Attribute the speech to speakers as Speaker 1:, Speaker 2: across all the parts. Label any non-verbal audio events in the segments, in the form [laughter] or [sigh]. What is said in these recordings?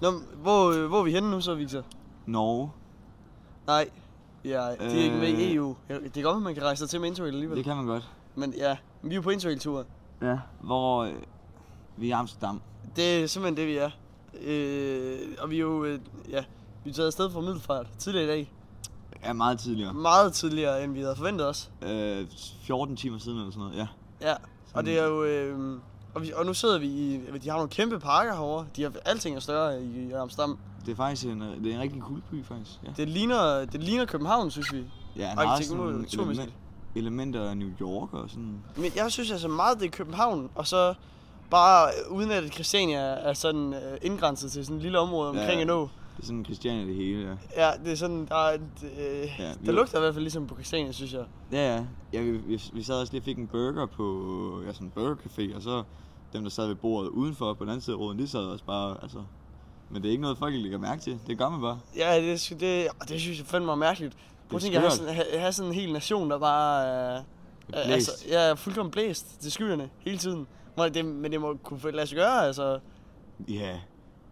Speaker 1: Nå, hvor, øh, hvor er vi henne nu så, Victor?
Speaker 2: Norge.
Speaker 1: Nej, ja, det er ikke med
Speaker 2: Øh.
Speaker 1: i EU. Ja, Det er godt, at man kan rejse sig til med interrail alligevel.
Speaker 2: Det kan man godt.
Speaker 1: Men ja, vi er jo på interrail-tur.
Speaker 2: Ja. Hvor øh, vi er i Amsterdam.
Speaker 1: Det er simpelthen det, vi er. Øh, og vi er jo, øh, ja, vi er taget afsted fra Middelfart tidligere i dag.
Speaker 2: Ja, meget tidligere.
Speaker 1: Meget tidligere, end vi havde forventet os.
Speaker 2: Øh, 14 timer siden eller sådan noget, ja.
Speaker 1: Ja,
Speaker 2: Mm.
Speaker 1: og det er jo, øh, og, vi, og nu sidder vi i, altså, de har nogle kæmpe parker herovre. De har, alting er større i, i Amsterdam.
Speaker 2: Det er faktisk en, øh, det er en rigtig cool by, faktisk. Ja,
Speaker 1: Det ligner, det ligner København, synes vi.
Speaker 2: ja
Speaker 1: og
Speaker 2: der er også
Speaker 1: teknologi-
Speaker 2: nogle
Speaker 1: naturmæssigt.
Speaker 2: element, elementer af New York og sådan.
Speaker 1: Men jeg synes altså meget, det er København, og så bare øh, uden at Christiania er sådan øh, indgrænset til sådan et lille område
Speaker 2: Ja.
Speaker 1: omkring ja. en å.
Speaker 2: Det er sådan Christiania det hele, ja.
Speaker 1: Ja, det er sådan, der, er et, øh,
Speaker 2: Ja,
Speaker 1: ja,
Speaker 2: vi-
Speaker 1: der lugter i hvert fald ligesom på Christiania, synes jeg.
Speaker 2: Ja, ja. ja vi, vi, vi sad også lige og fik en burger på ja, sådan en burgercafé, og så dem, der sad ved bordet udenfor på den anden side af råden, de sad også bare, altså... Men det er ikke noget, folk lægger mærke til. Det gør man bare.
Speaker 1: Ja, det, er sgu- det, og det synes jeg fandme er mærkeligt. Prøv
Speaker 2: er
Speaker 1: at tænke, at have
Speaker 2: skørt.
Speaker 1: sådan, have, have sådan en hel nation, der bare øh,
Speaker 2: Det
Speaker 1: er-
Speaker 2: er
Speaker 1: altså,
Speaker 2: blæst.
Speaker 1: ja, er fuldkommen blæst til skyerne hele tiden. Må, det, men det må kunne lade sig gøre, altså.
Speaker 2: Ja.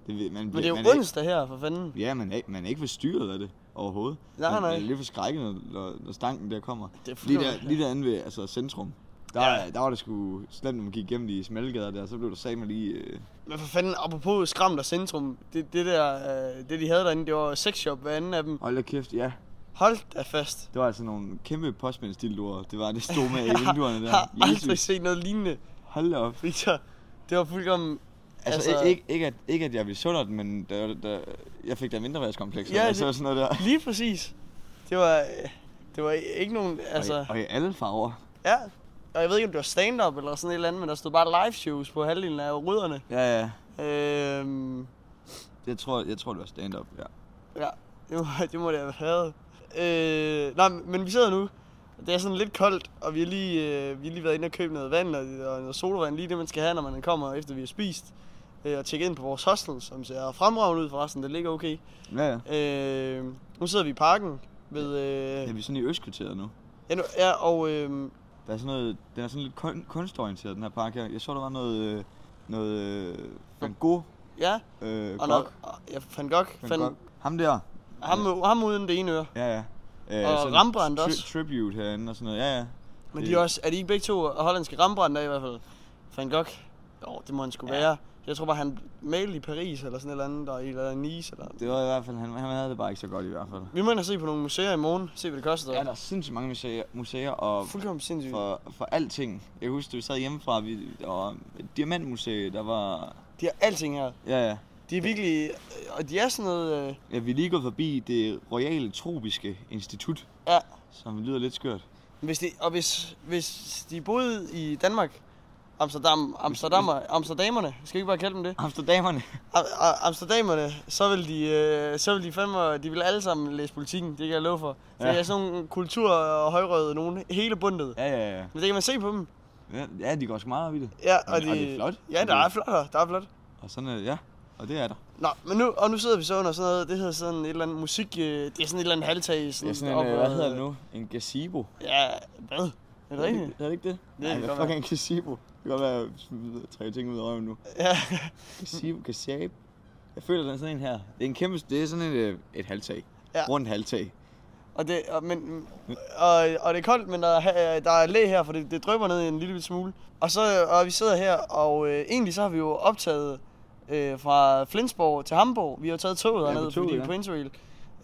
Speaker 2: Det, ved- man,
Speaker 1: Men det er
Speaker 2: man
Speaker 1: jo onsdag her, for fanden.
Speaker 2: Ikke, ja, man er, man er ikke forstyrret af det overhovedet.
Speaker 1: Nej,
Speaker 2: man,
Speaker 1: nej.
Speaker 2: Man er lidt forskrækket, når, når, når stanken der kommer.
Speaker 1: Det er
Speaker 2: Lige,
Speaker 1: fuldkommen...
Speaker 2: der, lige derinde ved altså, centrum, der,
Speaker 1: Ja.
Speaker 2: ja. der var det sgu slemt, når man gik igennem de smalgader der, så blev der sammen lige... Øh,
Speaker 1: Men for fanden, apropos skræmt og centrum, det, det der, øh, det de havde derinde, det var sexshop hver anden af dem.
Speaker 2: hold da kæft, ja.
Speaker 1: Hold da fast.
Speaker 2: Det var altså nogle kæmpe postmandsdildoer. Det var det stod
Speaker 1: [laughs]
Speaker 2: med i vinduerne
Speaker 1: Jeg
Speaker 2: der.
Speaker 1: har aldrig
Speaker 2: Jesus.
Speaker 1: set noget lignende,
Speaker 2: Hold da op.
Speaker 1: Victor. Det var fuldkommen...
Speaker 2: Altså,
Speaker 1: Altså-
Speaker 2: altså ikke, ikke, at, ikke at jeg ville sunder den, men der, der, jeg fik da mindreværdskomplekser.
Speaker 1: Ja,
Speaker 2: Ja,
Speaker 1: det-
Speaker 2: altså, sådan noget der.
Speaker 1: Lige præcis. Det var... øh, Det var ikke nogen... [laughs] Altså...
Speaker 2: Og, i, og i alle farver.
Speaker 1: Ja, og jeg ved ikke, om det var stand-up eller sådan et eller andet, men der stod bare live shows på halvdelen af ryderne.
Speaker 2: Ja, ja.
Speaker 1: Øhm,
Speaker 2: Jeg tror, jeg tror det var stand-up, ja.
Speaker 1: ja, det må, [laughs] det må det have været. Øh, nej, men vi sidder nu. Det er sådan lidt koldt, og vi har lige, øh, vi har lige været inde og købe noget vand og, og noget sodavand, lige det man skal have, når man kommer efter vi har spist. Øh, og tjekke ind på vores hostel, som ser fremragende ud forresten, det ligger okay.
Speaker 2: Ja, ja.
Speaker 1: Øh, nu sidder vi i parken ved...
Speaker 2: Er
Speaker 1: Øh,
Speaker 2: vi sådan i Østkvarteret nu?
Speaker 1: ja, nu, ja, og øh,
Speaker 2: Der er sådan noget, den er sådan lidt kun, kunstorienteret, den her park her. Jeg så, der var noget, øh, noget øh, Van Gogh,
Speaker 1: ja,
Speaker 2: øh,
Speaker 1: og
Speaker 2: Gogh,
Speaker 1: når, og, ja, Van Gogh,
Speaker 2: Van
Speaker 1: Van,
Speaker 2: Gogh. Ham der.
Speaker 1: ham, ham uden det ene øre.
Speaker 2: Ja, ja. Øh,
Speaker 1: Og
Speaker 2: sådan
Speaker 1: Rembrandt også.
Speaker 2: Tribute herinde og sådan noget, ja, ja.
Speaker 1: Men
Speaker 2: Det-
Speaker 1: de er, også, er de ikke begge to hollandske Rembrandt af i hvert fald? Van Gogh? Jo, det må han sgu ja.
Speaker 2: Ja.
Speaker 1: være. Jeg tror bare, han malede i Paris eller sådan et eller andet, der, eller Nice. Eller...
Speaker 2: Det var i hvert fald, han, han havde det bare ikke så godt i hvert fald.
Speaker 1: Vi må ind og se på nogle museer i morgen, se hvad det koster.
Speaker 2: Ja, der er sindssygt mange museer, museer og
Speaker 1: Fuldkommen sindssygt.
Speaker 2: for, for alting. Jeg husker, da vi sad hjemmefra, vi, der var et diamantmuseum, der var...
Speaker 1: De har alting her.
Speaker 2: Ja, ja.
Speaker 1: De er virkelig... Og de er sådan noget... Øh...
Speaker 2: ja vi er lige gået forbi det Royale Tropiske Institut,
Speaker 1: Ja.
Speaker 2: som lyder lidt skørt.
Speaker 1: Hvis de, og hvis, hvis de boede i Danmark, Amsterdam, Amsterdammer, Amsterdamerne, skal vi ikke bare kalde dem det?
Speaker 2: Amsterdamerne.
Speaker 1: Am- am- Amsterdamerne, så vil de, øh, så vil de fandme, de vil alle sammen læse politikken, det kan jeg love for. Så
Speaker 2: Ja.
Speaker 1: jeg er sådan nogle kultur- og højrøde nogen, hele bundet.
Speaker 2: Ja, ja, ja.
Speaker 1: Men det kan man se på dem.
Speaker 2: Ja, Ja, de går sgu meget op i det.
Speaker 1: Ja,
Speaker 2: Og det er flot.
Speaker 1: Ja, der er flot her. Der er flot.
Speaker 2: Og sådan, øh, ja. Og det er der.
Speaker 1: Nå, men nu, og nu sidder vi så under sådan noget, det hedder sådan et eller andet musik, øh, det er sådan et eller andet halvtag.
Speaker 2: Det
Speaker 1: Sådan
Speaker 2: er sådan en, øh, hvad hedder det nu? En gazebo.
Speaker 1: Ja, hvad? Er det rigtigt?
Speaker 2: Er det ikke det?
Speaker 1: Det kan
Speaker 2: Nej, hvad
Speaker 1: godt
Speaker 2: fuck er en gazebo? Det kan godt være, at jeg smider tre ting ud af røven nu.
Speaker 1: Ja,
Speaker 2: Gazebo, gazebo. Jeg føler, den er sådan en her. Det er en kæmpe, det er sådan et, øh, et halvtag.
Speaker 1: Ja.
Speaker 2: Ja. Rundt halvtag.
Speaker 1: og det, og, men, og, og det er koldt, men der, er- der er læ her, for det, det drøber ned en lille bitte smule. Og så og vi sidder her, og øh, egentlig så har vi jo optaget øh, fra Flensborg til Hamburg. Vi har jo taget toget
Speaker 2: Ja, på
Speaker 1: hernede,
Speaker 2: toget,
Speaker 1: fordi vi er
Speaker 2: ja.
Speaker 1: på Interrail.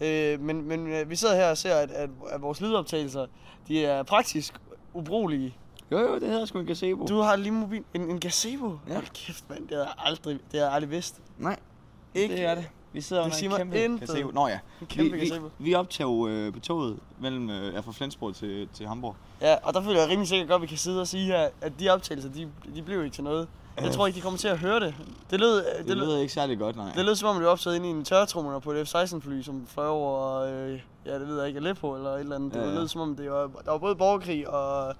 Speaker 1: Øh, men, men øh, vi sidder her og ser, at, at, at vores lydoptagelser, de er praktisk ubrugelige.
Speaker 2: Jo, jo, det hedder sgu en gazebo.
Speaker 1: Du har lige mobil. En, en gazebo? Ja.
Speaker 2: Uh. Ja.
Speaker 1: Hold kæft, mand. Det havde jeg aldrig, det havde jeg aldrig vidst.
Speaker 2: Nej,
Speaker 1: Ikke-
Speaker 2: ikke. det er det. Vi sidder
Speaker 1: Det
Speaker 2: under
Speaker 1: siger
Speaker 2: en
Speaker 1: mig
Speaker 2: kæmpe
Speaker 1: intet.
Speaker 2: gazebo. Nå ja,
Speaker 1: En
Speaker 2: vi,
Speaker 1: kæmpe
Speaker 2: vi,
Speaker 1: gazebo.
Speaker 2: vi optog øh, på toget mellem, øh, ja, fra Flensborg til, til Hamburg.
Speaker 1: Ja, og der føler jeg rimelig sikkert godt, at vi kan sidde og sige her, at de optagelser, de, de blev ikke til noget. Jeg tror ikke, de kommer til at høre det. Det lød, øh, det,
Speaker 2: Det
Speaker 1: det lød,
Speaker 2: lyder ikke særlig godt, nej.
Speaker 1: det lød som om, det var optaget inde i en tørretrummer på et F-16-fly, som fløj over, øh, ja, det ved jeg ikke, Aleppo eller et eller andet. Det
Speaker 2: Ja,
Speaker 1: ja,
Speaker 2: ja.
Speaker 1: lød som om, det var, der var både borgerkrig og,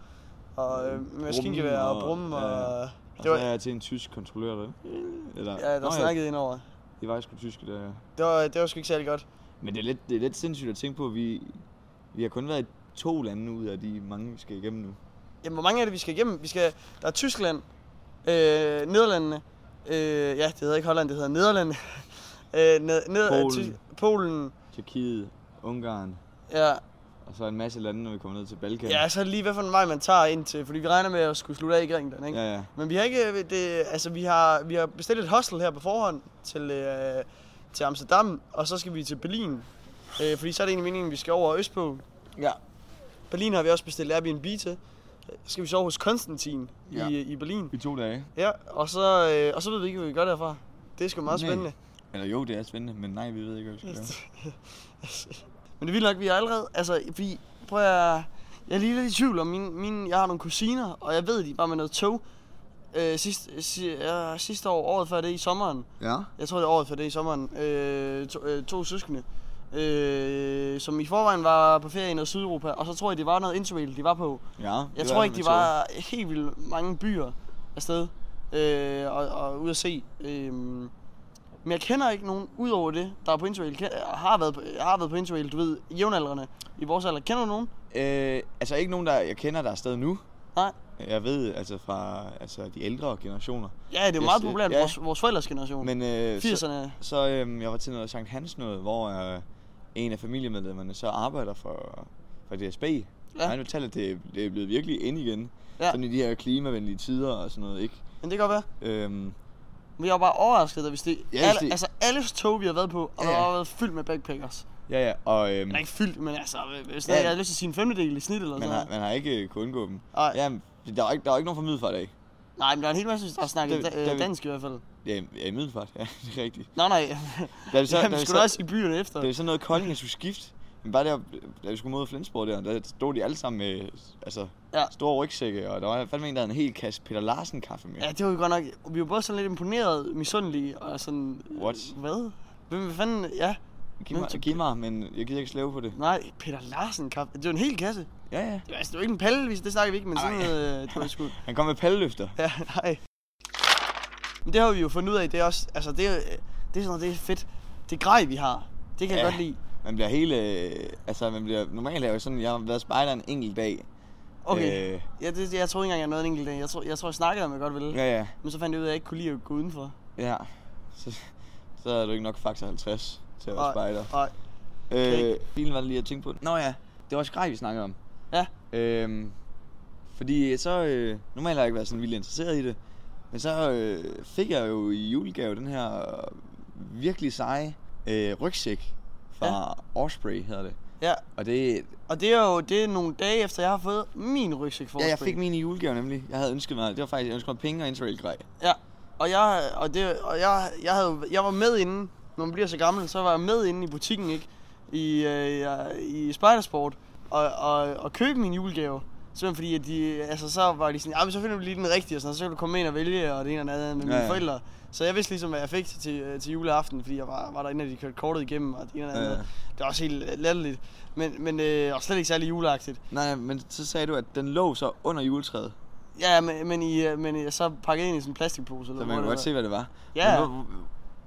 Speaker 1: og øh, maskingevær og
Speaker 2: Brummen
Speaker 1: brum,
Speaker 2: og- ja,
Speaker 1: og...
Speaker 2: Og
Speaker 1: Det
Speaker 2: så
Speaker 1: var,
Speaker 2: er jeg til en tysk kontrollør, der. Eller,
Speaker 1: ja, der snakkede indover.
Speaker 2: Ja, det var sgu tyske, der. ja.
Speaker 1: Det var, det var sgu ikke særlig godt.
Speaker 2: Men det er, lidt, det er lidt sindssygt at tænke på, at vi, vi har kun været i to lande ud af de mange, vi skal igennem nu.
Speaker 1: Jamen, hvor mange er det, vi skal igennem? Vi skal, der er Tyskland, øh, Nederlandene, [laughs] øh, ja, det hedder ikke Holland, det hedder Nederlandene. Øh, ned, ned Polen. Til
Speaker 2: Polen.
Speaker 1: Polen.
Speaker 2: Tyrkiet, Ungarn,
Speaker 1: Ja.
Speaker 2: og så en masse lande, når vi kommer ned til Balkan.
Speaker 1: ja, så er det lige, hvad for en vej man tager ind til. Fordi vi regner med at skulle slutte af i Grækenland, ikke?
Speaker 2: ja, ja.
Speaker 1: Men vi har ikke, øh, det, altså vi har, vi har bestilt et hostel her på forhånd til, øh, til Amsterdam, og så skal vi til Berlin. Øh, fordi så er det egentlig meningen, at vi skal over østpå.
Speaker 2: Ja.
Speaker 1: Berlin har vi også bestilt Airbnb til. Øh, Så skal vi sove hos Konstantin
Speaker 2: Ja.
Speaker 1: ja. i, i Berlin.
Speaker 2: I to dage.
Speaker 1: Ja, og så, øh, og så ved vi ikke, hvad vi gør derfra. Det er sgu meget
Speaker 2: Nej.
Speaker 1: spændende.
Speaker 2: Eller jo, det er spændende, men nej, vi ved ikke, hvad vi skal gøre.
Speaker 1: [laughs] Men det er vildt nok, vi er allerede, altså, vi, prøv at, jeg er lige lidt i tvivl om, mine, mine, jeg har nogle kusiner, og jeg ved, de var med noget tog øh, sidste, si, øh, sidste år, året før det i sommeren.
Speaker 2: Ja.
Speaker 1: Jeg tror, det er året for det i sommeren. Øh, to, øh, to søskende. Øh, som i forvejen var på ferie i noget Sydeuropa, og så tror jeg, det var noget interrail, de var på.
Speaker 2: Ja.
Speaker 1: Jeg
Speaker 2: det
Speaker 1: tror ikke,
Speaker 2: med
Speaker 1: de
Speaker 2: tog.
Speaker 1: var helt vildt mange byer afsted øh, og, og ude at se. Øh, men jeg kender ikke nogen udover det, der er på interrail. Ken- Jeg har været på, jeg har været på interrail, du ved, jævnaldrende i vores alder. Kender du nogen?
Speaker 2: Øh, altså ikke nogen, der jeg kender, der er afsted nu.
Speaker 1: Nej.
Speaker 2: Jeg ved, altså fra altså, de ældre generationer.
Speaker 1: Ja, det er
Speaker 2: Jeg
Speaker 1: jo meget
Speaker 2: ser-
Speaker 1: populært i
Speaker 2: ja.
Speaker 1: vores, vores forældres generation. Men,
Speaker 2: Men øh, så,
Speaker 1: 80'erne.
Speaker 2: så øh, jeg var til noget Sankt Hans noget, hvor øh, en af familiemedlemmerne så arbejder for, for DSB. Ja. Og han fortalte, at det, det er blevet virkelig ind igen. Ja.
Speaker 1: Ja.
Speaker 2: Sådan i de her klimavenlige tider og sådan noget, ikke?
Speaker 1: Men det kan godt være.
Speaker 2: Øhm,
Speaker 1: Men jeg var bare overrasket, da hvis det,
Speaker 2: Ja,
Speaker 1: ja,
Speaker 2: hvis
Speaker 1: alle,
Speaker 2: det-
Speaker 1: det... altså alle tog, vi har været på, og
Speaker 2: Ja,
Speaker 1: ja,
Speaker 2: ja.
Speaker 1: ja. der har været fyldt med backpackers.
Speaker 2: ja, ja, og øhm,
Speaker 1: Eller ikke fyldt, men altså, hvis
Speaker 2: Ja.
Speaker 1: ja. jeg har lyst til at sige en femtedel i snit eller
Speaker 2: man,
Speaker 1: sådan
Speaker 2: har,
Speaker 1: noget.
Speaker 2: man har ikke øh, kunnet undgå dem.
Speaker 1: Nej.
Speaker 2: Ja, men der er ikke, der er ikke nogen fra Middelfart af.
Speaker 1: Nej, men der er en hel masse, der snakker
Speaker 2: Det-
Speaker 1: da,
Speaker 2: det-
Speaker 1: øh, dansk i hvert fald.
Speaker 2: Ja, ja i Middelfart, ja, [laughs] det er rigtigt.
Speaker 1: Nå nej, [laughs]
Speaker 2: Da vi
Speaker 1: så,
Speaker 2: så, da
Speaker 1: Jamen,
Speaker 2: vi
Speaker 1: skulle
Speaker 2: så,
Speaker 1: da også i byerne efter.
Speaker 2: da vi så noget Kolding, jeg skulle skifte, men bare der, da vi skulle mod Flensborg der, der stod de alle sammen med altså, ja.
Speaker 1: Ja.
Speaker 2: store rygsække, og der var fandme en, der havde en hel kasse Peter Larsen kaffe med.
Speaker 1: Ja, det var jo godt nok, vi var både sådan lidt imponeret, misundelige og sådan... øh,
Speaker 2: What?
Speaker 1: Hvad? Hvem hvad fanden, ja,
Speaker 2: giv, mig,
Speaker 1: men-
Speaker 2: giv mig, men jeg gider ikke slæve på det.
Speaker 1: nej, Peter Larsen kaffe, det var en hel kasse.
Speaker 2: Ja, ja.
Speaker 1: Det var, altså, det var ikke en pallevis, det snakker vi ikke, men sådan
Speaker 2: Ej.
Speaker 1: noget, øh, det var sgu...
Speaker 2: Han kom med palleløfter.
Speaker 1: Ja, nej. Men det har vi jo fundet ud af, det er også, altså det, er- det er sådan noget, det er fedt. Det grej, vi har, det kan ja.
Speaker 2: Ja.
Speaker 1: jeg godt lide.
Speaker 2: Man bliver hele... øh, Altså, man bliver... Normalt er jeg jo sådan, jeg har været spejder en enkelt dag.
Speaker 1: Okay, øh.
Speaker 2: Øh,
Speaker 1: ja, det, jeg troede ikke engang, jeg nåede en enkelt dag. Jeg, tror, jeg tror, jeg snakkede om, jeg godt ville. Ja.
Speaker 2: ja, ja.
Speaker 1: Men så fandt jeg ud af, at jeg ikke kunne lide at gå udenfor.
Speaker 2: Ja. Så, så er du ikke nok faktor 50 til at være
Speaker 1: Nej.
Speaker 2: spejder.
Speaker 1: Nej,
Speaker 2: Øh,
Speaker 1: ikke.
Speaker 2: bilen var det lige at tænke på. Nå ja, det var skræk, vi snakkede om.
Speaker 1: Ja.
Speaker 2: Øhm, fordi så, øh, normalt har jeg ikke været sådan vildt interesseret i det, men så øh, fik jeg jo i julegave den her virkelig seje øh, rygsæk fra ja. Osprey, hedder det.
Speaker 1: ja.
Speaker 2: Og det,
Speaker 1: Og det er jo det er nogle dage efter, jeg har fået min rygsæk for
Speaker 2: ja, jeg fik min i julegave nemlig. Jeg havde ønsket mig, det var faktisk, jeg ønskede mig penge og interrail-grej.
Speaker 1: Ja, og jeg, og det, og jeg, jeg, havde, jeg var med inde, når man bliver så gammel, så var jeg med inde i butikken, ikke? I, øh, i Spidersport, og, og, og købe min julegave. Simpelthen fordi, at de, altså, så var de sådan, "Ah, men så finder vi lige den rigtige, og sådan, og så kan du komme ind og vælge, og det ene og det andet med mine
Speaker 2: Ja,
Speaker 1: ja,
Speaker 2: ja.
Speaker 1: ja. forældre. Så jeg vidste ligesom, hvad jeg fik til, til, til juleaften, fordi jeg var, var derinde, og de kørte kortet igennem, og det ene og det
Speaker 2: Ja,
Speaker 1: andet.
Speaker 2: ja.
Speaker 1: Ja. Det var også helt øh, latterligt, men, men øh, og slet ikke særlig juleagtigt.
Speaker 2: Nej, nej, men så sagde du, at den lå så under juletræet,
Speaker 1: Ja, men, men, i, øh, men i- så pakket ind i sådan en plastikpose.
Speaker 2: så
Speaker 1: Eller
Speaker 2: man kunne
Speaker 1: whatever.
Speaker 2: godt se, hvad det var.
Speaker 1: Ja.
Speaker 2: Men, hvor-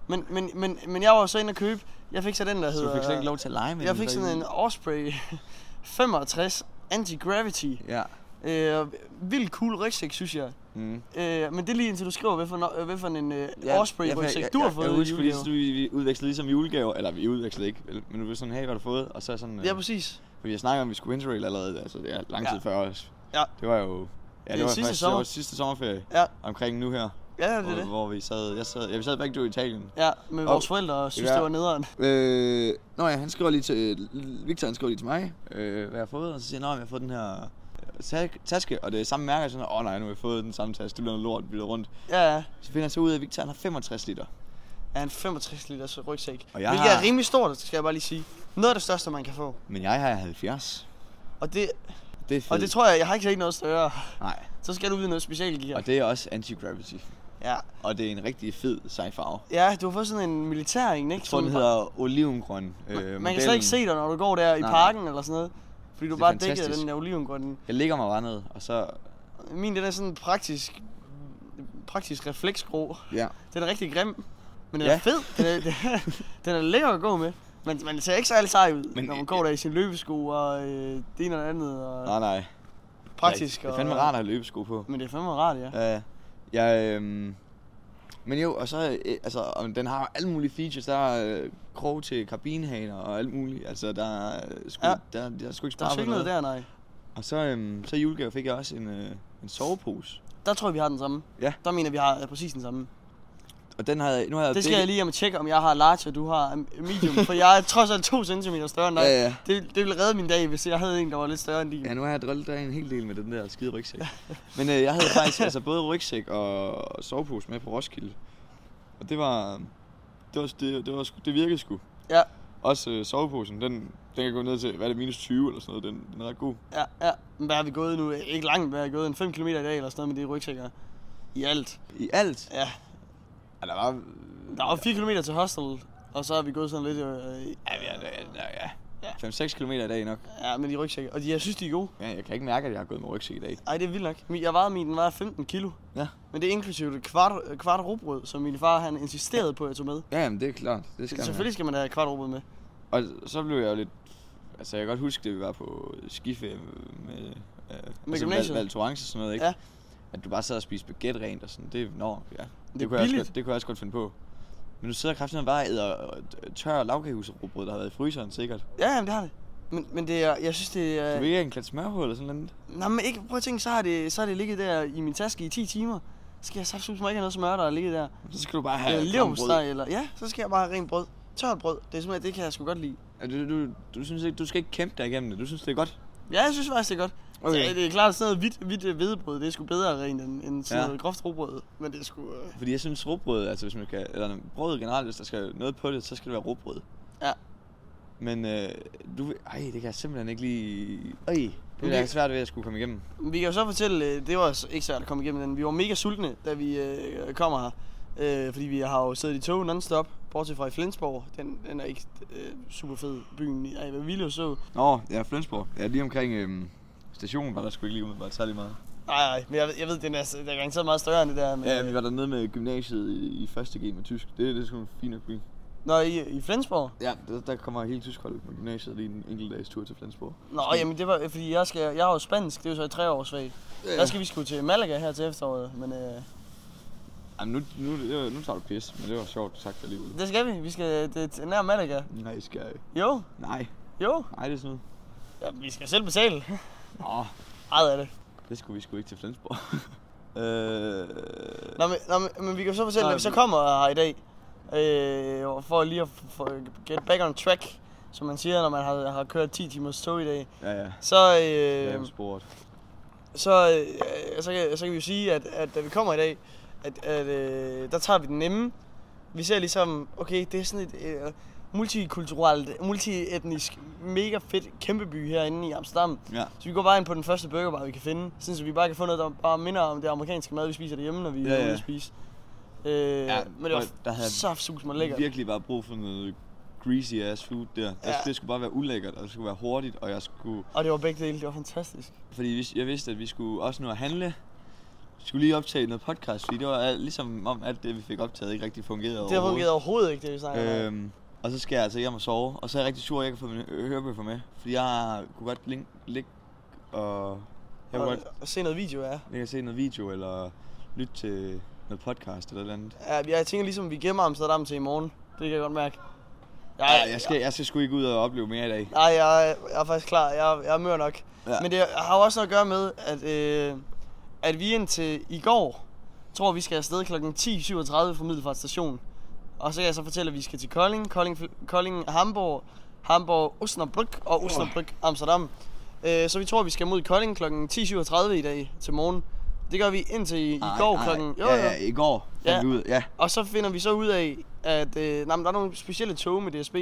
Speaker 1: Men, men, men, men jeg var jo så inde og købe, jeg fik så den, der
Speaker 2: så
Speaker 1: hedder...
Speaker 2: du fik slet ikke lov til at lege med
Speaker 1: Jeg
Speaker 2: den
Speaker 1: fik
Speaker 2: så
Speaker 1: sådan
Speaker 2: i-
Speaker 1: en Osprey [laughs] 65 Anti-Gravity.
Speaker 2: Ja.
Speaker 1: Øh, vildt cool rygsæk, synes jeg.
Speaker 2: Mm.
Speaker 1: Øh, men det er lige indtil du skriver, hvad for, en- øh, hvad for en øh, Osprey
Speaker 2: for
Speaker 1: rygsæk du har fået
Speaker 2: jeg,
Speaker 1: i
Speaker 2: jeg husker, fordi
Speaker 1: julegave.
Speaker 2: så vi, vi udvekslede ligesom julegave, eller vi udvekslede ikke, vel, men du var sådan, hey, hvad har du fået? Og så sådan,
Speaker 1: Ja,
Speaker 2: øh,
Speaker 1: præcis.
Speaker 2: for vi snakkede om, at vi skulle interrail allerede, altså det er lang tid
Speaker 1: Ja.
Speaker 2: før os.
Speaker 1: Ja.
Speaker 2: Det var jo, ja, det,
Speaker 1: er
Speaker 2: var
Speaker 1: sidste
Speaker 2: faktisk, det
Speaker 1: sommer.
Speaker 2: var sidste sommerferie,
Speaker 1: Ja.
Speaker 2: omkring nu her,
Speaker 1: Ja, det er
Speaker 2: hvor,
Speaker 1: det.
Speaker 2: hvor, vi sad, jeg sad, ja, vi sad begge to i Italien.
Speaker 1: Ja, med
Speaker 2: Og-
Speaker 1: vores forældre og synes,
Speaker 2: Ja.
Speaker 1: det var nederen.
Speaker 2: Øh, nå ja, han skriver lige til, Victor han skriver lige til mig, øh, hvad jeg har fået, og så siger han, "Nå, jeg har fået den her øh, ta- taske, og det er samme mærke, og sådan, åh oh, nej, nu har jeg fået den samme taske, det bliver noget lort, vi rundt.
Speaker 1: Ja, ja.
Speaker 2: Så finder han så ud af, at Victor han har 65 liter.
Speaker 1: Ja, en 65 liters rygsæk.
Speaker 2: Og jeg
Speaker 1: hvilket
Speaker 2: har-
Speaker 1: er rimelig stort, skal jeg bare lige sige. Noget af det største, man kan få.
Speaker 2: Men jeg har 70.
Speaker 1: Og det,
Speaker 2: Det er fedt.
Speaker 1: og det tror jeg, jeg har ikke set noget større.
Speaker 2: Nej,
Speaker 1: Så skal du ud i noget specialgear.
Speaker 2: Og det er også anti-gravity.
Speaker 1: Ja.
Speaker 2: Og det er en rigtig fed sej farve.
Speaker 1: ja, du har fået sådan en militær en, ikke?
Speaker 2: Jeg tror, den hedder olivengrøn. Øh,
Speaker 1: Øh, man kan
Speaker 2: modellen.
Speaker 1: slet ikke se dig, når du går der i
Speaker 2: Nej.
Speaker 1: parken eller sådan noget. Fordi du
Speaker 2: Det
Speaker 1: det
Speaker 2: er
Speaker 1: bare er dækket af
Speaker 2: fantastisk.
Speaker 1: den der olivengrønne.
Speaker 2: Jeg ligger mig bare ned, og så...
Speaker 1: Min, den er sådan en praktisk, praktisk refleksgrå.
Speaker 2: Ja.
Speaker 1: Den er rigtig grim, men den
Speaker 2: Ja.
Speaker 1: er fed. Den er, [laughs] den- den er lækker at gå med. Men man ser ikke særlig sej ud,
Speaker 2: Men- øh,
Speaker 1: men, når man går der i sin løbesko og øh, det ene og det andet. Og
Speaker 2: Nej, nej.
Speaker 1: praktisk.
Speaker 2: Det er
Speaker 1: og-
Speaker 2: fandme rart at have løbesko på.
Speaker 1: Men det er fandme rart, ja.
Speaker 2: Ja. Jeg, øh, Men jo, og så, øh, altså, og den har alle mulige features. Der er øh, krog til kabinhaner og alt muligt. Altså, der er, øh, sgu,
Speaker 1: Ja.
Speaker 2: ja. der, der er sgu ikke
Speaker 1: Der er
Speaker 2: sparet
Speaker 1: sgu
Speaker 2: på
Speaker 1: ikke noget
Speaker 2: noget. Der.
Speaker 1: der, nej.
Speaker 2: Og så, øhm, så i julegave fik jeg også en, øh, en sovepose.
Speaker 1: Der tror jeg, vi har den samme.
Speaker 2: Ja.
Speaker 1: Der mener jeg, vi har øh, præcis den samme.
Speaker 2: Og den havde, nu har jeg
Speaker 1: Det skal jeg lige om at tjekke, om jeg har large, og du har øh, medium. for jeg er trods alt 2 cm større end dig.
Speaker 2: Ja, ja.
Speaker 1: Det, det ville redde min dag, hvis jeg havde en, der var lidt større end din.
Speaker 2: Ja, nu har jeg drillet dig en hel del med den der skide
Speaker 1: [laughs]
Speaker 2: rygsæk. Men øh, jeg havde faktisk altså, både rygsæk og sovepose med på Roskilde. Og det var... Det, var, det, det, var, sgu- det virkede sgu.
Speaker 1: Ja.
Speaker 2: Også øh, soveposen, den, den kan gå ned til, hvad er det, minus 20 eller sådan noget. Den, den er ret god.
Speaker 1: Ja, ja. Men hvad har vi gået nu? Ikke langt, hvad har vi gået? En 5 km i dag eller sådan noget med de rygsækker. I alt.
Speaker 2: I alt?
Speaker 1: Ja.
Speaker 2: Ja, der var...
Speaker 1: Der er jo 4 km til hostel, og så har vi gået sådan lidt... Øh,
Speaker 2: Ja, ja, der, der, ja.
Speaker 1: Ja.
Speaker 2: 5-6 km i dag nok.
Speaker 1: ja, med de rygsækker. Og de, jeg synes, de er gode.
Speaker 2: Ja, jeg kan ikke mærke, at jeg har gået med rygsæk i dag.
Speaker 1: Ej, det er vildt nok. Min- Jeg vejede min, den var 15 kilo.
Speaker 2: Ja.
Speaker 1: Men det er inklusivt et kvart, kvart robrød, som min far han insisterede på, at jeg tog med.
Speaker 2: Ja, jamen, det er klart. Det skal
Speaker 1: Så
Speaker 2: man
Speaker 1: selvfølgelig skal man have kvart robrød med.
Speaker 2: Og så blev jeg jo lidt... Altså, jeg kan godt huske, det vi var på skiferie med... Øh,
Speaker 1: gymnasiet.
Speaker 2: Val, Val Thorens og sådan noget, ikke?
Speaker 1: Ja.
Speaker 2: At du bare sad og spiste baguette rent og sådan. Det, nå, ja. Det,
Speaker 1: er
Speaker 2: kunne jeg også
Speaker 1: billigt.
Speaker 2: godt, det kunne jeg også godt finde på. Men du sidder kraftigt bare og æder øh, tør lavkagehuserbrød, der har været i fryseren sikkert.
Speaker 1: Ja, jamen, det har det. Men, men det er, jeg synes, det
Speaker 2: Du
Speaker 1: er...
Speaker 2: vil ikke have en klat smørhul eller sådan noget?
Speaker 1: Nej, men ikke, prøv at tænke, så har, det, så har det ligget der i min taske i 10 timer. Så skal jeg saft mig ikke have noget smør, der er ligget der.
Speaker 2: Så skal du bare have
Speaker 1: Ja,
Speaker 2: klam brød.
Speaker 1: leverpostej eller... Ja, så skal jeg bare have rent brød. Tørt brød. Det er simpelthen, det kan jeg sgu godt lide.
Speaker 2: Ja, Du, du, du, synes ikke, du skal ikke kæmpe dig igennem det. Du synes, det er godt.
Speaker 1: Ja, jeg synes faktisk, det er godt.
Speaker 2: Okay.
Speaker 1: Okay. Det er klart, sådan noget hvidt, hvidt øh, hvedebrød, det er sgu bedre rent end, end sådan
Speaker 2: Ja.
Speaker 1: noget groft robrød. Men det er sgu... Øh...
Speaker 2: Fordi jeg synes, råbrød, altså hvis man kan, eller brød generelt, hvis der skal noget på det, så skal det være råbrød.
Speaker 1: Ja.
Speaker 2: Men øh, du, ej, det kan jeg simpelthen ikke lige... Øj, det
Speaker 1: Men
Speaker 2: er jeg
Speaker 1: det-
Speaker 2: svært ved at skulle komme igennem.
Speaker 1: Vi kan jo så fortælle, øh, det var s- ikke svært at komme igennem den. Vi var mega sultne, da vi øh, kommer her. Øh, fordi vi har jo siddet i tog non-stop, bortset fra i Flensborg. Den, den er ikke øh, super fed byen. i- Ej, hvad vi jo så.
Speaker 2: Nå, ja, Flensborg. Ja, lige omkring øh, stationen var der sgu ikke lige umiddelbart særlig meget.
Speaker 1: Nej, nej, men jeg, ved- jeg ved, den er, s- den er garanteret meget større end det der. Men,
Speaker 2: Ja,
Speaker 1: øh,
Speaker 2: vi var dernede med gymnasiet i, i første G med tysk. Det, det er sgu en fin nok by.
Speaker 1: Nå, i, i Flensborg?
Speaker 2: Ja, der, der kommer hele tysk hold på gymnasiet lige en enkelt dags tur til Flensborg.
Speaker 1: Nå, jamen det var, fordi jeg, skal, jeg er jo spansk, det er jo så i tre års fag.
Speaker 2: Ja.
Speaker 1: Der skal vi sgu til Malaga her til efteråret, men øh,
Speaker 2: Jamen, nu, nu, nu, nu tager du pis, men det var sjovt sagt alligevel.
Speaker 1: det skal vi. Vi skal det er nær Malaga.
Speaker 2: Nej, skal jeg ikke.
Speaker 1: Jo,
Speaker 2: Nej,
Speaker 1: jo.
Speaker 2: nej, det er sådan noget.
Speaker 1: Ja, vi skal selv betale.
Speaker 2: Nå,
Speaker 1: Ejet af det.
Speaker 2: Det skulle vi sgu ikke til
Speaker 1: [laughs]
Speaker 2: Flensborg. øh,
Speaker 1: Nå, men, nå, men, men vi kan jo så fortælle,
Speaker 2: Nej,
Speaker 1: at vi så
Speaker 2: men-
Speaker 1: kommer her i dag, øh, for lige at f- for get back on track, som man siger, når man har, har kørt 10 timers tog i dag,
Speaker 2: ja, ja.
Speaker 1: så,
Speaker 2: Det er
Speaker 1: øh,
Speaker 2: jo sport.
Speaker 1: så, øh, så, kan, så kan vi jo sige, at, at da vi kommer i dag, at, at øh, der tager vi den nemme. Vi ser ligesom, okay, det er sådan et øh, multikulturelt, multietnisk, mega fedt kæmpe by herinde i Amsterdam.
Speaker 2: Ja.
Speaker 1: Så vi går bare ind på den første burgerbar, vi kan finde, sådan så vi bare kan få noget, der bare minder om det amerikanske mad, vi spiser derhjemme, når vi
Speaker 2: Ja,
Speaker 1: ja, er
Speaker 2: ja.
Speaker 1: ude at spise. Øh, ja, men det var
Speaker 2: prøv, der havde-
Speaker 1: så sus mig
Speaker 2: Lækkert.
Speaker 1: lækkert.
Speaker 2: Virkelig bare brug for noget greasy ass food der. Ja.
Speaker 1: Ja.
Speaker 2: Altså, det skulle bare være ulækkert, og det skulle være hurtigt, og jeg skulle...
Speaker 1: Og det var begge dele, det var fantastisk.
Speaker 2: Fordi hvis- jeg vidste, at vi skulle også nå at handle. Vi skulle lige optage noget podcast, fordi det var al- ligesom om alt det, vi fik optaget, ikke rigtig fungerede
Speaker 1: Det har fungeret overhovedet ikke, det vi snakker om. her.
Speaker 2: Øhm, og så skal jeg altså hjem og sove, og så er jeg rigtig sur, at jeg ikke har fået mine ø- hørebøffer med. Fordi jeg kunne godt link, ligge og... Jeg kunne
Speaker 1: Og,
Speaker 2: godt
Speaker 1: og se noget video af.
Speaker 2: ligge og se noget video, eller lytte til noget podcast eller noget andet.
Speaker 1: Ja, jeg tænker ligesom, vi gemmer Amsterdam til i morgen. Det kan jeg godt mærke. Jeg,
Speaker 2: Ja, jeg skal, jeg skal sgu ikke ud og opleve mere i dag.
Speaker 1: Nej, jeg, er- jeg er faktisk klar. Jeg, er- jeg er mør nok.
Speaker 2: Ja.
Speaker 1: Ja. Men det har jo også noget at gøre med, at, øh, at vi indtil i går tror, vi skal afsted kl. 10.37 fra Middelfart station. Og så kan jeg så fortælle, at vi skal til Kolding, Kolding, Fl- Kolding Hamburg, Hamburg, Osnabrück og Osnabrück, Amsterdam. Øh, så vi tror, vi skal mod Kolding kl. 10.37 i dag til morgen. Det gør vi indtil i, i
Speaker 2: Ej,
Speaker 1: går
Speaker 2: ej,
Speaker 1: klokken... Jo,
Speaker 2: ja,
Speaker 1: jo.
Speaker 2: ja, i går fandt
Speaker 1: Ja.
Speaker 2: vi ud. Ja,
Speaker 1: Og så finder vi så ud af, at øh, nej, men der er nogle specielle tog med DSB.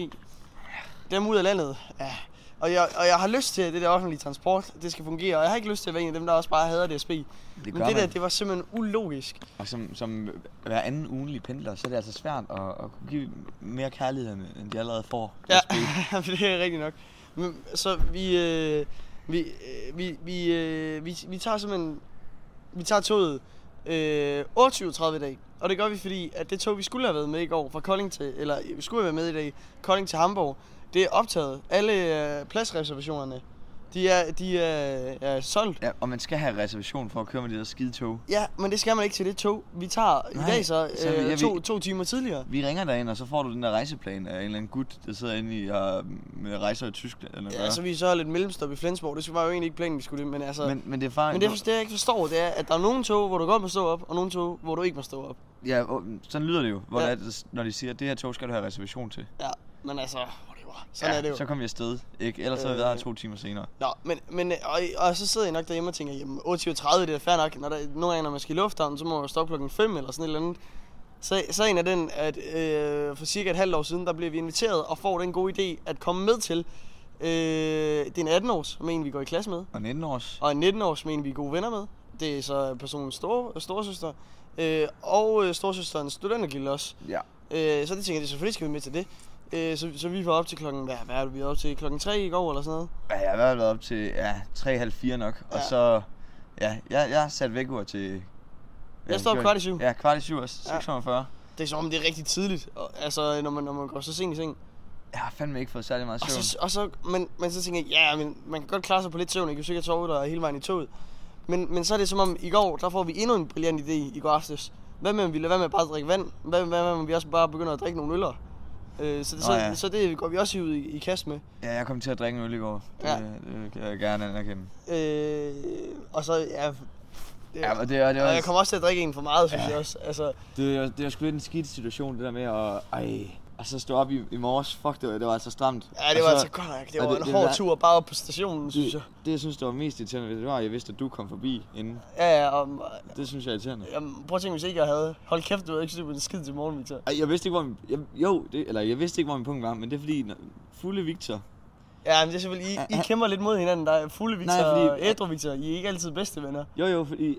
Speaker 1: Dem ud af landet. Ja. Og, jeg, og jeg har lyst til, at det der offentlige transport, det skal fungere. Og jeg har ikke lyst til at være en af dem, der også bare hader DSB.
Speaker 2: det gør
Speaker 1: men det der,
Speaker 2: man.
Speaker 1: det var simpelthen ulogisk.
Speaker 2: Og som, som hver anden ugenlig pendler, så er det altså svært at, at kunne give mere kærlighed, end end de allerede får.
Speaker 1: [laughs] Ja, det er rigtigt nok. Men, så vi, øh, vi, øh, vi, vi, øh, vi, vi tager simpelthen, vi tager toget øh, 28.30 i dag. Og det gør vi, fordi at det tog, vi skulle have været med i går fra Kolding til, eller øh, vi skulle have været med i dag, Kolding til Hamburg, det er optaget. Alle øh, pladsreservationerne, De er, de er, er solgt.
Speaker 2: Ja, og man skal have reservation for at køre med det der skide tog.
Speaker 1: Ja, men det skal man ikke til det tog. Vi tager
Speaker 2: Nej,
Speaker 1: i dag så,
Speaker 2: så vi-
Speaker 1: øh,
Speaker 2: jeg
Speaker 1: to,
Speaker 2: ved-
Speaker 1: to timer tidligere.
Speaker 2: Vi ringer derind, og så får du den der rejseplan af en eller anden gut, der sidder inde i og med rejser i Tyskland. Eller
Speaker 1: Ja, så vi så lidt mellemstop i Flensborg. Det var jo egentlig ikke planen, vi skulle det, men altså... Men,
Speaker 2: men, men det er far...
Speaker 1: men det, for- det, jeg ikke forstår, det er, at der er nogle tog, hvor du godt må stå op, og nogle tog, hvor du ikke må stå op.
Speaker 2: Ja, og sådan lyder det jo, hvor
Speaker 1: Ja.
Speaker 2: ja. det er, når de siger, at det her tog skal du have reservation til.
Speaker 1: Ja, men altså... whatever. Sådan
Speaker 2: ja,
Speaker 1: er det jo.
Speaker 2: Så kom vi afsted, ikke? Ellers så havde vi
Speaker 1: Øh.
Speaker 2: været her to timer senere.
Speaker 1: Nå, men, men øh, og, og, så sidder jeg nok derhjemme og tænker, jamen 8.30, det er fair nok. Når der, nogle gange, når man skal i lufthavnen, så må man jo stoppe klokken 5 eller sådan et eller andet. Så, så en af den, at øh, for cirka et halvt år siden, der blev vi inviteret og får den gode idé at komme med til. Øh, det er en 18-års, med en vi går i klasse med.
Speaker 2: Og 19 års.
Speaker 1: Og en 19-års, med en vi er gode venner med. Det er så personens store, storesøster. Øh, og øh, storesøsterens studentergilde også.
Speaker 2: Ja.
Speaker 1: Øh, så det tænker jeg, det selvfølgelig skal vi med til det. Øh, så, så vi var op til klokken, hvad, hvad er det, vi var op til klokken 3 i går eller sådan noget.
Speaker 2: Ja, jeg har i hvert fald været op til ja, 3,5-4 nok. Og
Speaker 1: Ja.
Speaker 2: så... Ja, jeg, jeg satte væk ord til...
Speaker 1: Jeg står op
Speaker 2: gjorde-
Speaker 1: kvart i syv.
Speaker 2: Ja, kvart i syv også. 640.
Speaker 1: Det er som om, det er rigtig tidligt, og, altså, når man, når man går så sent i seng.
Speaker 2: Jeg har fandme ikke fået særlig meget
Speaker 1: Og
Speaker 2: søvn.
Speaker 1: så, og så, men, men så tænker jeg, ja, men man kan godt klare sig på lidt søvn, ikke? Du sikkert sove der hele vejen i toget. Men, men så er det som om, i går, der får vi endnu en brillant idé i går aftes. Hvad med, om vi lader være med at bare drikke vand? Hvad, hvad med, om vi også bare begynder at drikke nogle øller? Øh, så, det,
Speaker 2: Nå
Speaker 1: så,
Speaker 2: ja.
Speaker 1: ja. så det går vi også ud i, i kast med.
Speaker 2: Ja, jeg kom til at drikke en øl i går. Det,
Speaker 1: Ja.
Speaker 2: det kan jeg gerne anerkende.
Speaker 1: Øh, og så, ja... Det,
Speaker 2: Ja, men det er, det er,
Speaker 1: og jeg
Speaker 2: også,
Speaker 1: kommer også til at drikke en for meget, synes
Speaker 2: Ja.
Speaker 1: ja. jeg også. Altså,
Speaker 2: det, er, det er sgu lidt en skidt situation, det der med at... Ej, og så stå op i, i morges. Fuck, det var, det var altså stramt.
Speaker 1: ja, det
Speaker 2: Og
Speaker 1: var
Speaker 2: så-
Speaker 1: altså godt nok. Det
Speaker 2: og
Speaker 1: var
Speaker 2: det-
Speaker 1: en
Speaker 2: det
Speaker 1: hård
Speaker 2: der-
Speaker 1: tur bare op på stationen, synes jeg.
Speaker 2: Det, det, jeg synes, der var mest irriterende, det var, at jeg vidste, at du kom forbi inden.
Speaker 1: Ja, ja, og,
Speaker 2: Det synes jeg er irriterende.
Speaker 1: Jamen, prøv at tænke, hvis ikke jeg havde. Hold kæft, du havde ikke styr på en skid til morgen, Victor.
Speaker 2: Ej, jeg vidste ikke, hvor min, jeg, jo, det, eller jeg vidste ikke, hvor min punkt var, men det er fordi, når, fulde Victor,
Speaker 1: Ja, men det er selvfølgelig, I, I kæmper lidt mod hinanden. Der er fulde Victor
Speaker 2: Nej, fordi-
Speaker 1: og ædru Victor. I er ikke altid bedste venner.
Speaker 2: jo jo, fordi,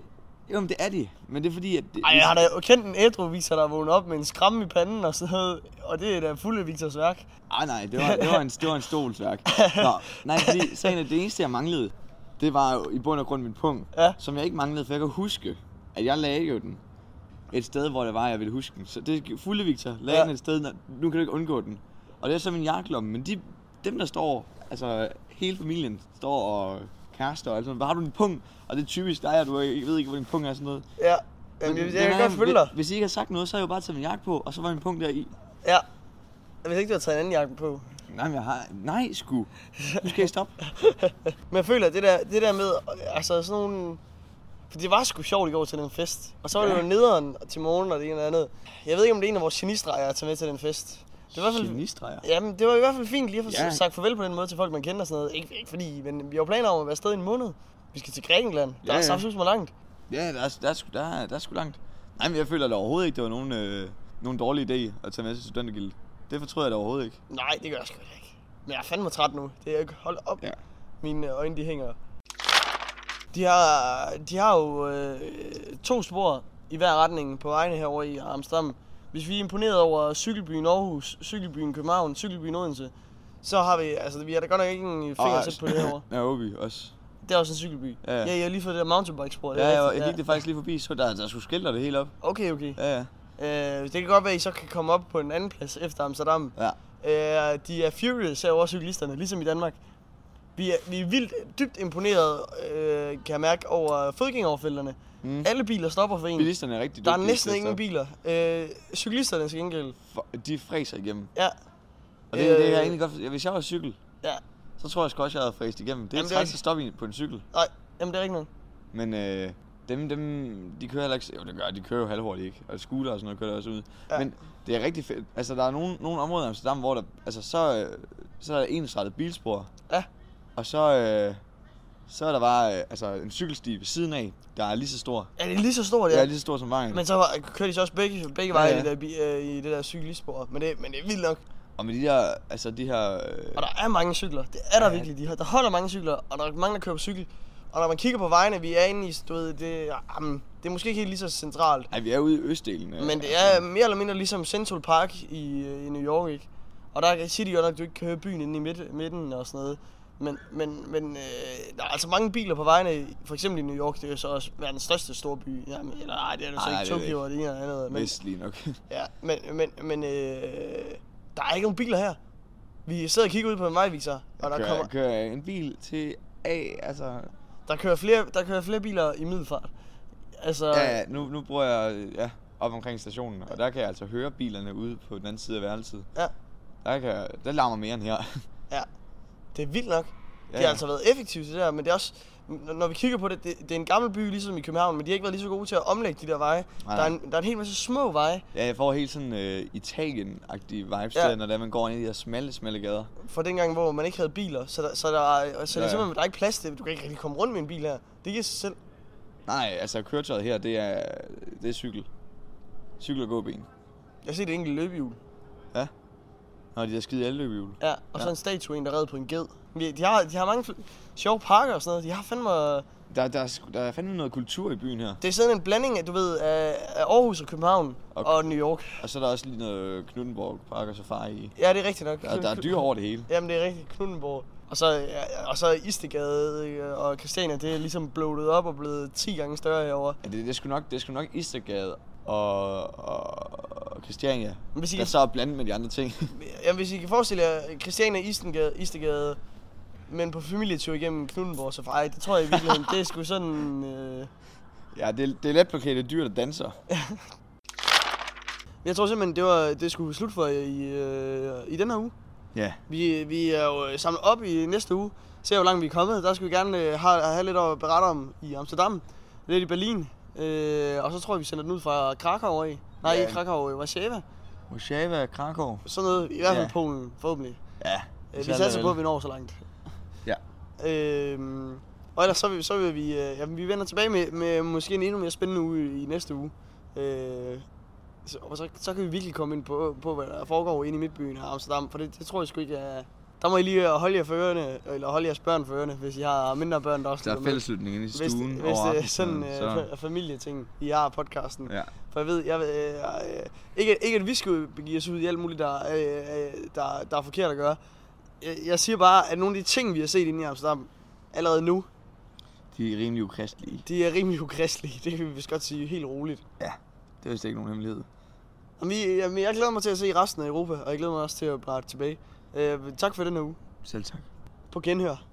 Speaker 2: jo, men det er de, men det er fordi, at... Det,
Speaker 1: Ej, jeg har da kendt en ædru Victor, der er vågnet op med en skræmme i panden og sådan noget. Og det er da fulde Victors værk.
Speaker 2: Ej, Ah, nej, det var, det var en, det var en stolsværk. Nå, nej, fordi sagen er, det eneste, jeg manglede, det var jo i bund og grund min punkt,
Speaker 1: Ja.
Speaker 2: som jeg ikke manglede, for jeg kan huske, at jeg lagde jo den et sted, hvor det var, jeg ville huske den. Så det er fulde Victor, lagde
Speaker 1: Ja.
Speaker 2: ja. den et sted, når- nu kan du ikke undgå den. Og det er så min jakkelomme, men de, dem der står, altså hele familien står og kærester og alt sådan noget. Hvor har du en punkt? Og det er typisk dig, at du ikke- ved ikke, hvor din punkt er og sådan noget.
Speaker 1: Ja, jamen, jeg,
Speaker 2: Men
Speaker 1: jeg,
Speaker 2: den
Speaker 1: kan
Speaker 2: er-
Speaker 1: godt følge dig.
Speaker 2: hvis- Hvis I ikke har sagt noget, så har jeg jo bare taget min jakke på, og så var min punkt der i.
Speaker 1: Ja. Hvis ikke du har taget en anden jakke på.
Speaker 2: Nej, men jeg har... Nej, sgu. Nu skal jeg stoppe.
Speaker 1: Men jeg føler, det der, det der med, altså sådan nogle... For det var sgu sjovt i går til den fest. Og så var det
Speaker 2: Ja.
Speaker 1: jo nederen til morgen og det ene eller andet. Jeg ved ikke, om det er en af vores genistreger at tage med til den fest. [laughs] Det var i hvert fald
Speaker 2: Genistreger.
Speaker 1: Jamen, det var i hvert fald fint lige at få
Speaker 2: Ja.
Speaker 1: ja. sagt farvel på den måde til folk, man kender og sådan noget. Ikke, ikke fordi, men vi har jo planer om at være afsted i en måned. Vi skal til Grækenland. Der
Speaker 2: Ja,
Speaker 1: er
Speaker 2: ja.
Speaker 1: samtidig som langt.
Speaker 2: Ja, der er, der, er, sgu- der, er, der er sgu langt. Nej, men jeg føler da overhovedet ikke, det var nogen, øh, nogen dårlig idé at tage med til studentergilde. Det fortryder jeg da overhovedet ikke.
Speaker 1: Nej, det gør jeg sgu ikke. Men jeg er fandme træt nu. Det er ikke... Hold op.
Speaker 2: Ja.
Speaker 1: Mine øjne, de hænger. De har, de har jo øh, to spor i hver retning på vejene herover i Amsterdam. Hvis vi er imponeret over cykelbyen Aarhus, cykelbyen København, cykelbyen Odense, så har vi, altså vi har da godt nok ikke en finger til på det herovre.
Speaker 2: Ja, Åby også.
Speaker 1: Det er også en cykelby.
Speaker 2: Ja,
Speaker 1: Ja,
Speaker 2: ja.
Speaker 1: ja jeg har lige fået det der mountainbike-spor. det
Speaker 2: Ja,
Speaker 1: er
Speaker 2: jeg,
Speaker 1: rigtigt,
Speaker 2: jeg gik det faktisk lige forbi, så der, der skulle skilter det hele op.
Speaker 1: Okay, okay.
Speaker 2: Ja, ja.
Speaker 1: Øh, det kan godt være, at I så kan komme op på en anden plads efter Amsterdam.
Speaker 2: Ja.
Speaker 1: Øh, de er furious herovre, cyklisterne, ligesom i Danmark. Vi er, vi er vildt dybt imponeret, øh, kan jeg mærke, over fodgængeroverfælderne.
Speaker 2: Mm.
Speaker 1: Mm. Alle biler stopper for en.
Speaker 2: Bilisterne er ligesom rigtig
Speaker 1: Der er
Speaker 2: dygtige
Speaker 1: næsten
Speaker 2: til at
Speaker 1: ingen biler. Øh, cyklisterne til gengæld.
Speaker 2: stoppe. For- De fræser igennem.
Speaker 1: Ja,
Speaker 2: Og det, øh... det
Speaker 1: Øh.
Speaker 2: kan jeg egentlig godt... for- Hvis jeg var cykel,
Speaker 1: ja.
Speaker 2: så tror jeg sgu også, jeg havde fræst igennem. Det er
Speaker 1: Jamen, det er
Speaker 2: træls at
Speaker 1: rigtigt.
Speaker 2: stoppe i- på en cykel.
Speaker 1: Nej, jamen det er rigtigt nok.
Speaker 2: Men øh, dem, dem, de kører heller ikke... Jo, det gør de kører jo halvhurtigt, ikke? Og scooter og sådan noget kører der også ud. Ja.
Speaker 1: Ja.
Speaker 2: Men det er rigtig fedt. Altså, der er nogle, nogle områder i Amsterdam, hvor der... Altså, så, øh, så er der ensrettet bilspor.
Speaker 1: Ja.
Speaker 2: Og så, øh, så er der bare øh, altså, en cykelsti ved siden af, der er lige så stor.
Speaker 1: Er det lige så stort,
Speaker 2: Ja.
Speaker 1: ja?
Speaker 2: er lige så stor som vejen. Men...
Speaker 1: Men så var, kørte de så også begge, begge veje
Speaker 2: Ja, ja.
Speaker 1: I, det der, bi- øh, i det der cyklistspor. Men det, men det er vildt nok.
Speaker 2: Og med de her... Altså, de her... Øh,
Speaker 1: Og der er mange cykler. Det er der
Speaker 2: Ja.
Speaker 1: ja. virkelig. De har, der holder mange cykler, og der er mange, der kører på cykel. Og når man kigger på vejene, vi er inde i, du ved, det, jamen, det er måske ikke helt lige så centralt.
Speaker 2: ej, vi er ude i østdelen. øh,
Speaker 1: Men det
Speaker 2: altså.
Speaker 1: er mere eller mindre ligesom Central Park i, øh, i New York, ikke? Og der siger de godt nok, at du ikke kan høre byen inde i midt, midten og sådan noget. Men, men, men øh, der er altså mange biler på vejene, i- for eksempel i New York, det er jo så også verdens største storby. Jamen, eller nej, det er det så
Speaker 2: Ej, nej,
Speaker 1: ikke
Speaker 2: det er det
Speaker 1: Tokyo og det ene og det andet. Men,
Speaker 2: Vestlig nok.
Speaker 1: Ja, men, men, men øh, der er ikke nogen biler her. Vi sidder og kigger ud på en vejviser, og der
Speaker 2: kører,
Speaker 1: kommer...
Speaker 2: kører en bil til af, altså...
Speaker 1: Der kører flere, der kører flere biler i middelfart. Altså,
Speaker 2: Ja, ja, nu, nu bruger jeg øh, ja, op omkring stationen, og der kan jeg altså høre bilerne ude på den anden side af værelset.
Speaker 1: Ja.
Speaker 2: Der, kan jeg, der larmer mere end
Speaker 1: [laughs]
Speaker 2: her.
Speaker 1: det er vildt nok. De
Speaker 2: Ja,
Speaker 1: har
Speaker 2: ja.
Speaker 1: altså været effektive til det der, men det er også, n- når vi kigger på det, det, det er en gammel by ligesom i København, men de har ikke været lige så gode til at omlægge de der veje.
Speaker 2: Nej.
Speaker 1: Der er, en, der er en hel masse små veje,
Speaker 2: Ja, jeg får helt sådan øh, Italien-agtige vibes
Speaker 1: Ja.
Speaker 2: ja. der, når det er, man går ind i de her smalle, smalle gader.
Speaker 1: fra dengang, hvor man ikke havde biler, så der, så der, er- så der,
Speaker 2: Ja,
Speaker 1: er
Speaker 2: ja.
Speaker 1: simpelthen der er ikke plads til, du kan ikke rigtig komme rundt med en bil her. Det giver sig selv.
Speaker 2: Nej, altså køretøjet her, det er, det er cykel. Cykel og gåben.
Speaker 1: Jeg har set et enkelt løbehjul.
Speaker 2: Nå, de der skide elløbehjul.
Speaker 1: Ja, og så
Speaker 2: Ja.
Speaker 1: en statue, en der red på en ged. Men De de har, de har mange fl- sjove parker og sådan noget. De har fandme...
Speaker 2: Der, der, er, sgu- der er fandme noget kultur i byen her.
Speaker 1: Det er sådan en blanding af, du ved, af af Aarhus og København
Speaker 2: Okay.
Speaker 1: okay. og New York.
Speaker 2: Og så er der også lige noget Knuttenborg Park og Safari i.
Speaker 1: Ja, det er rigtigt nok.
Speaker 2: Der, der er dyr over det hele.
Speaker 1: Jamen, det er rigtigt. Knuttenborg. Og så, ja, og så Istegade ikke? og Christiania, det er ligesom bloated op og blevet 10 gange større herovre.
Speaker 2: Ja, det, det, er sgu nok, det er sgu nok Istergade og, og, og Christiania,
Speaker 1: Men hvis I
Speaker 2: der
Speaker 1: kan,
Speaker 2: så er blandet med de andre ting. [laughs]
Speaker 1: jamen, hvis I kan forestille jer Christiania, Istegade, Istegade men på familietur igennem Knuttenborg så Safari, det tror jeg i virkeligheden, det er sgu sådan... Øh...
Speaker 2: ja, det, er- det er let plakeret dyr, der danser.
Speaker 1: Jeg tror simpelthen, det var det skulle slut for i, øh, i den her uge.
Speaker 2: Ja.
Speaker 1: Vi, vi er jo øh, samlet op i næste uge. Se hvor langt vi er kommet. Der skal vi gerne øh, have, have lidt at berette om i Amsterdam. Lidt i Berlin. Øh, og så tror jeg, vi sender den ud fra Krakow af. Nej,
Speaker 2: Ja.
Speaker 1: ikke Krakow, øh, Warszawa.
Speaker 2: Warszawa, Krakow.
Speaker 1: Sådan noget. I hvert fald
Speaker 2: Ja.
Speaker 1: ja. Polen, forhåbentlig.
Speaker 2: Ja.
Speaker 1: Øh, vi satser på, at vi når så langt.
Speaker 2: Ja.
Speaker 1: Øh, og ellers så vil, så vil vi... Øh, jamen, vi vender tilbage med, med måske en endnu mere spændende uge i næste uge. Øh, så, og så, så kan vi virkelig komme ind på, på hvad der foregår inde i midtbyen her i Amsterdam. For det, det tror jeg sgu ikke er... Der må I lige øh, holde jer for ørerne, eller holde jeres børn for ørerne, hvis I har mindre børn, der også
Speaker 2: Der er
Speaker 1: lytter med.
Speaker 2: fælleslytning inde i
Speaker 1: Hvis,
Speaker 2: stuen
Speaker 1: hvis det er sådan
Speaker 2: aftenen,
Speaker 1: øh, fa- familieting, I har podcasten.
Speaker 2: Ja.
Speaker 1: For jeg ved, jeg, ved, øh, øh, ikke, ikke at vi skal begive os ud i alt muligt, der, øh, øh, der, der er forkert at gøre. Jeg, jeg siger bare, at nogle af de ting, vi har set inde i Amsterdam allerede nu,
Speaker 2: De er rimelig ukristelige.
Speaker 1: de er rimelig ukristelige. [laughs] Det kan vi vist godt sige helt roligt.
Speaker 2: Det er vist ikke nogen hemmelighed.
Speaker 1: Og vi, jamen, jeg glæder mig til at se resten af Europa, og jeg glæder mig også til at blive tilbage. Øh, tak for den her uge.
Speaker 2: Selv tak.
Speaker 1: På genhør.